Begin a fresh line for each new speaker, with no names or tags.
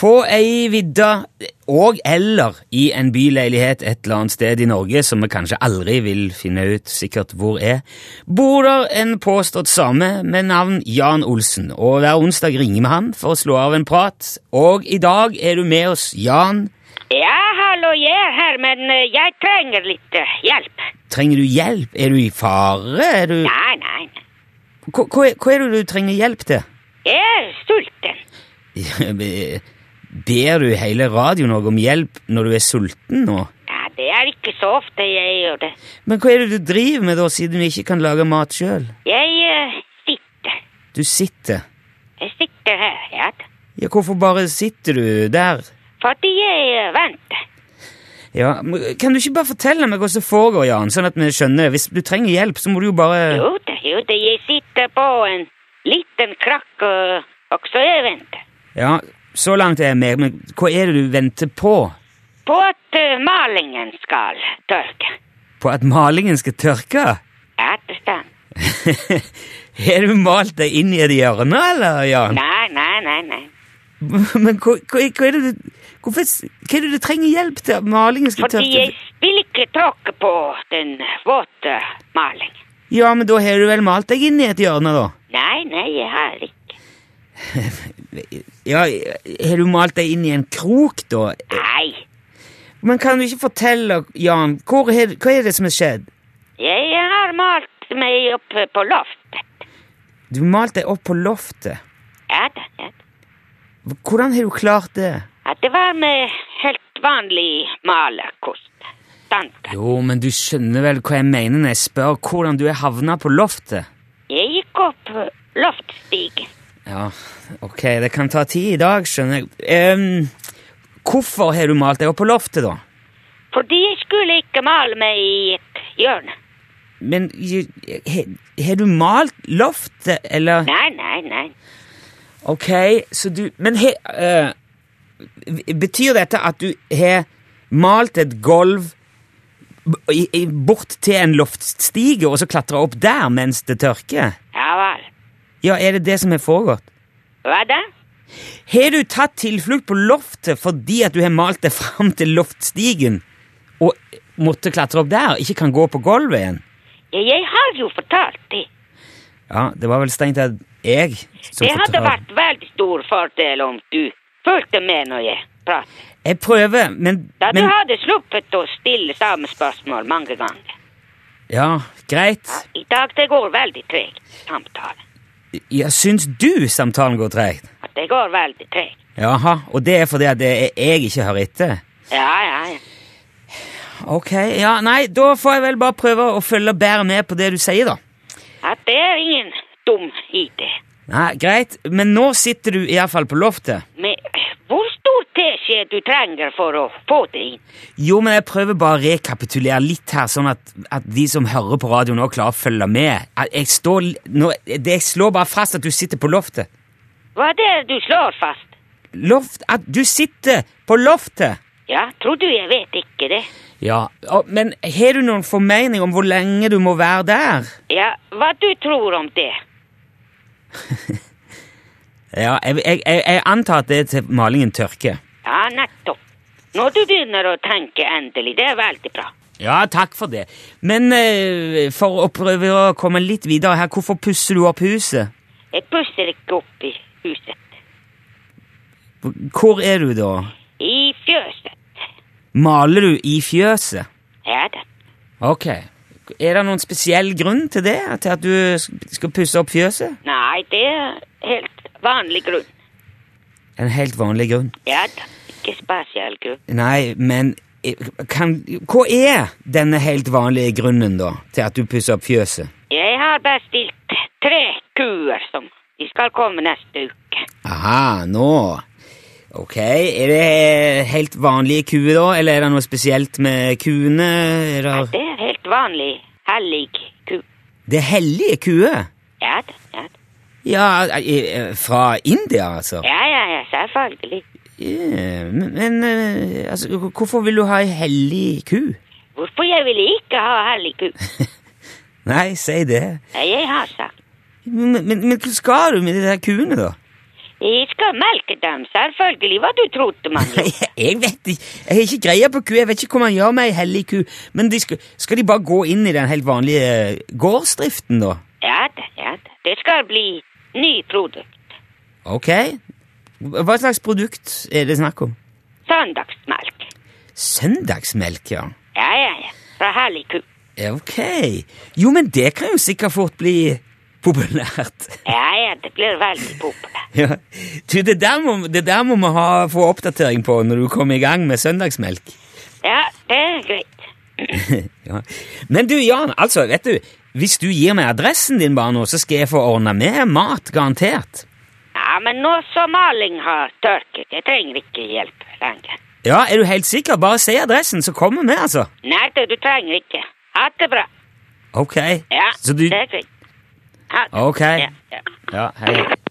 På ei vidda og eller i en byleilighet et eller annet sted i Norge som vi kanskje aldri vil finne ut sikkert hvor er, bor der en påstått same med navn Jan Olsen, og hver onsdag ringer vi han for å slå av en prat. Og i dag er du med oss, Jan.
Ja, hallo, jeg er her, men eh, jeg trenger litt eh, hjelp.
Trenger du hjelp? Er du i fare? Er du
Nei, nei, nei.
hva, hva, er, hva er det du trenger hjelp til?
jeg er sulten.
Ber du hele radioen også om hjelp når du er sulten nå?
Ja, det er ikke så ofte jeg gjør det.
Men hva er det du driver med da, siden du ikke kan lage mat sjøl?
Jeg eh, sitter.
Du sitter.
Jeg sitter her, ja. da.
Ja, hvorfor bare sitter du der?
Fordi jeg eh, venter.
Ja, men Kan du ikke bare fortelle meg hva som foregår, Jan, sånn at vi skjønner? Hvis du trenger hjelp, så må du jo bare
Jo da, jo da, jeg sitter på en liten krakk, eh, og så jeg venter.
Ja, så langt er jeg med, men hva er det du venter på?
På at eh, malingen skal tørke.
På at malingen skal tørke?
Ja, det stemmer.
Har du malt deg inn i et hjørne, eller, Jan?
Nei, nei, nei, nei.
Men hva, hva, hva er det du Hvorfor Hva er det du trenger hjelp til? at Malingen skal
Fordi jeg
tørke?
vil ikke tråkke på den våte malingen.
Ja, men da har du vel malt deg inn i et hjørne, da?
Nei, nei, jeg har ikke.
Ja, har du malt deg inn i en krok, da?
Nei,
Men kan du ikke fortelle, Jan, hvor er, hva er det som har skjedd?
jeg har malt meg oppe på loftet.
Du malte deg opp på loftet.
Ja da, ja da.
Hvordan har du klart det?
At det var med helt vanlig malerkost. Sånn Standard.
Jo, men du skjønner vel hva jeg mener når jeg spør hvordan du har havna på loftet?
Jeg gikk opp loftstigen.
Ja, ok, det kan ta tid i dag, skjønner jeg. Ehm, hvorfor har du malt deg opp på loftet, da?
Fordi jeg skulle ikke male meg i et hjørne.
Men j- he- har du malt loftet, eller
Nei, nei, nei.
Ok, så du Men he, eh, betyr dette at du har malt et gulv b- i- i- bort til en loftstige, og så klatra opp der mens det tørker?
Ja vel.
Ja, er det det som har foregått?
Hva da?
Har du tatt tilflukt på loftet fordi at du har malt det fram til loftstigen, og måtte klatre opp der, ikke kan gå på gulvet igjen?
Ja, Jeg har jo fortalt det.
Ja, det var vel strengt tatt jeg som
Det hadde
fortalte-
vært veldig stor fordel om du fulgte med når jeg pratet.
Jeg prøver, men,
Da
men
du hadde sluppet å stille samme spørsmål mange ganger.
Ja, greit.
I dag det går veldig tregt, samtale.
Ja, syns du samtalen går tregt?
At det går veldig tregt.
Jaha, og det er fordi at det er jeg ikke hører etter?
Ja, ja, ja.
Ok, ja, nei, da får jeg vel bare prøve å følge bedre med på det du sier, da.
At det er ingen dum idé.
Nei, Greit, men nå sitter du iallfall på loftet.
Men eh, hvor stor teskje du trenger for å få det inn?
Jo, men jeg prøver bare å rekapitulere litt her, sånn at, at de som hører på radio nå klarer å følge med. At Jeg, står, li- nå, det, jeg slår bare fast at du sitter på loftet.
Hva er det du slår fast?
Loft, at du sitter på loftet!
Ja, tror du jeg vet ikke det?
Ja, å, men har du noen formening om hvor lenge du må være der?
Ja, hva du tror om det?
Ja, jeg, jeg, jeg, jeg antar at det er til malingen tørker.
Ja, nettopp. Når du begynner å tenke endelig, det er veldig bra.
Ja, takk for det. Men eh, for å prøve å komme litt videre her, hvorfor pusser du opp huset?
Jeg pusser ikke opp i huset.
Hvor er du da?
I fjøset.
Maler du i fjøset?
Ja da.
Ok. Er det noen spesiell grunn til det? Til at du sk- skal pusse opp fjøset?
Nei, det er helt vanlig grunn.
En helt vanlig grunn.
Ja da, ikke spesiell grunn.
Nei, men eh, kan, Hva er denne helt vanlige grunnen, da, til at du pusser opp fjøset?
Jeg har bestilt tre kuer som de skal komme neste uke.
Aha, nå. Ok, er det helt vanlige kuer, da, eller er det noe spesielt med kuene? Er det...
Det er helt vanlig hellig ku.
Det hellige kuet?
Ja da, ja da.
Ja, eh, eh, fra India, altså?
Ja, ja, ja, selvfølgelig.
Eh, Men, men eh, altså, h- hvorfor vil du ha ei hellig ku?
Hvorfor jeg ville ikke ha hellig ku?
Nei, si det.
Nei, Jeg har sagt.
Men, men, men hva skal du med de der kuene, da?
Jeg skal melke dem, selvfølgelig. Hva du trodde man jo.
Jeg vet ikke, jeg har ikke greie på ku, jeg vet ikke hva man gjør med ei hellig ku. Men de skal, skal de bare gå inn i den helt vanlige gårdsdriften, da?
Ja da, ja da. Det skal bli ny produkt.
Ok. Hva slags produkt er det snakk om?
Søndagsmelk.
Søndagsmelk, ja.
Ja, ja, ja. Fra herlig ku.
Ja, Ok. Jo, men det kan jo sikkert fort bli populært.
Ja, ja, det blir veldig populært.
Ja. Du, det der må, det der må vi ha, få oppdatering på når du kommer i gang med søndagsmelk.
Ja, det er greit.
ja. Men du, Jan, altså, vet du, hvis du gir meg adressen din bare nå, så skal jeg få ordna med mat, garantert.
Ja, men nå som maling har tørket, jeg trenger ikke hjelp lenger.
Ja, er du helt sikker? Bare si adressen, så kommer vi, altså.
Nei, du, du trenger ikke. Ha det bra.
Ok.
Ja,
så du...
det er greit. Ha det.
Ok.
Ja, ja.
Ja, hei.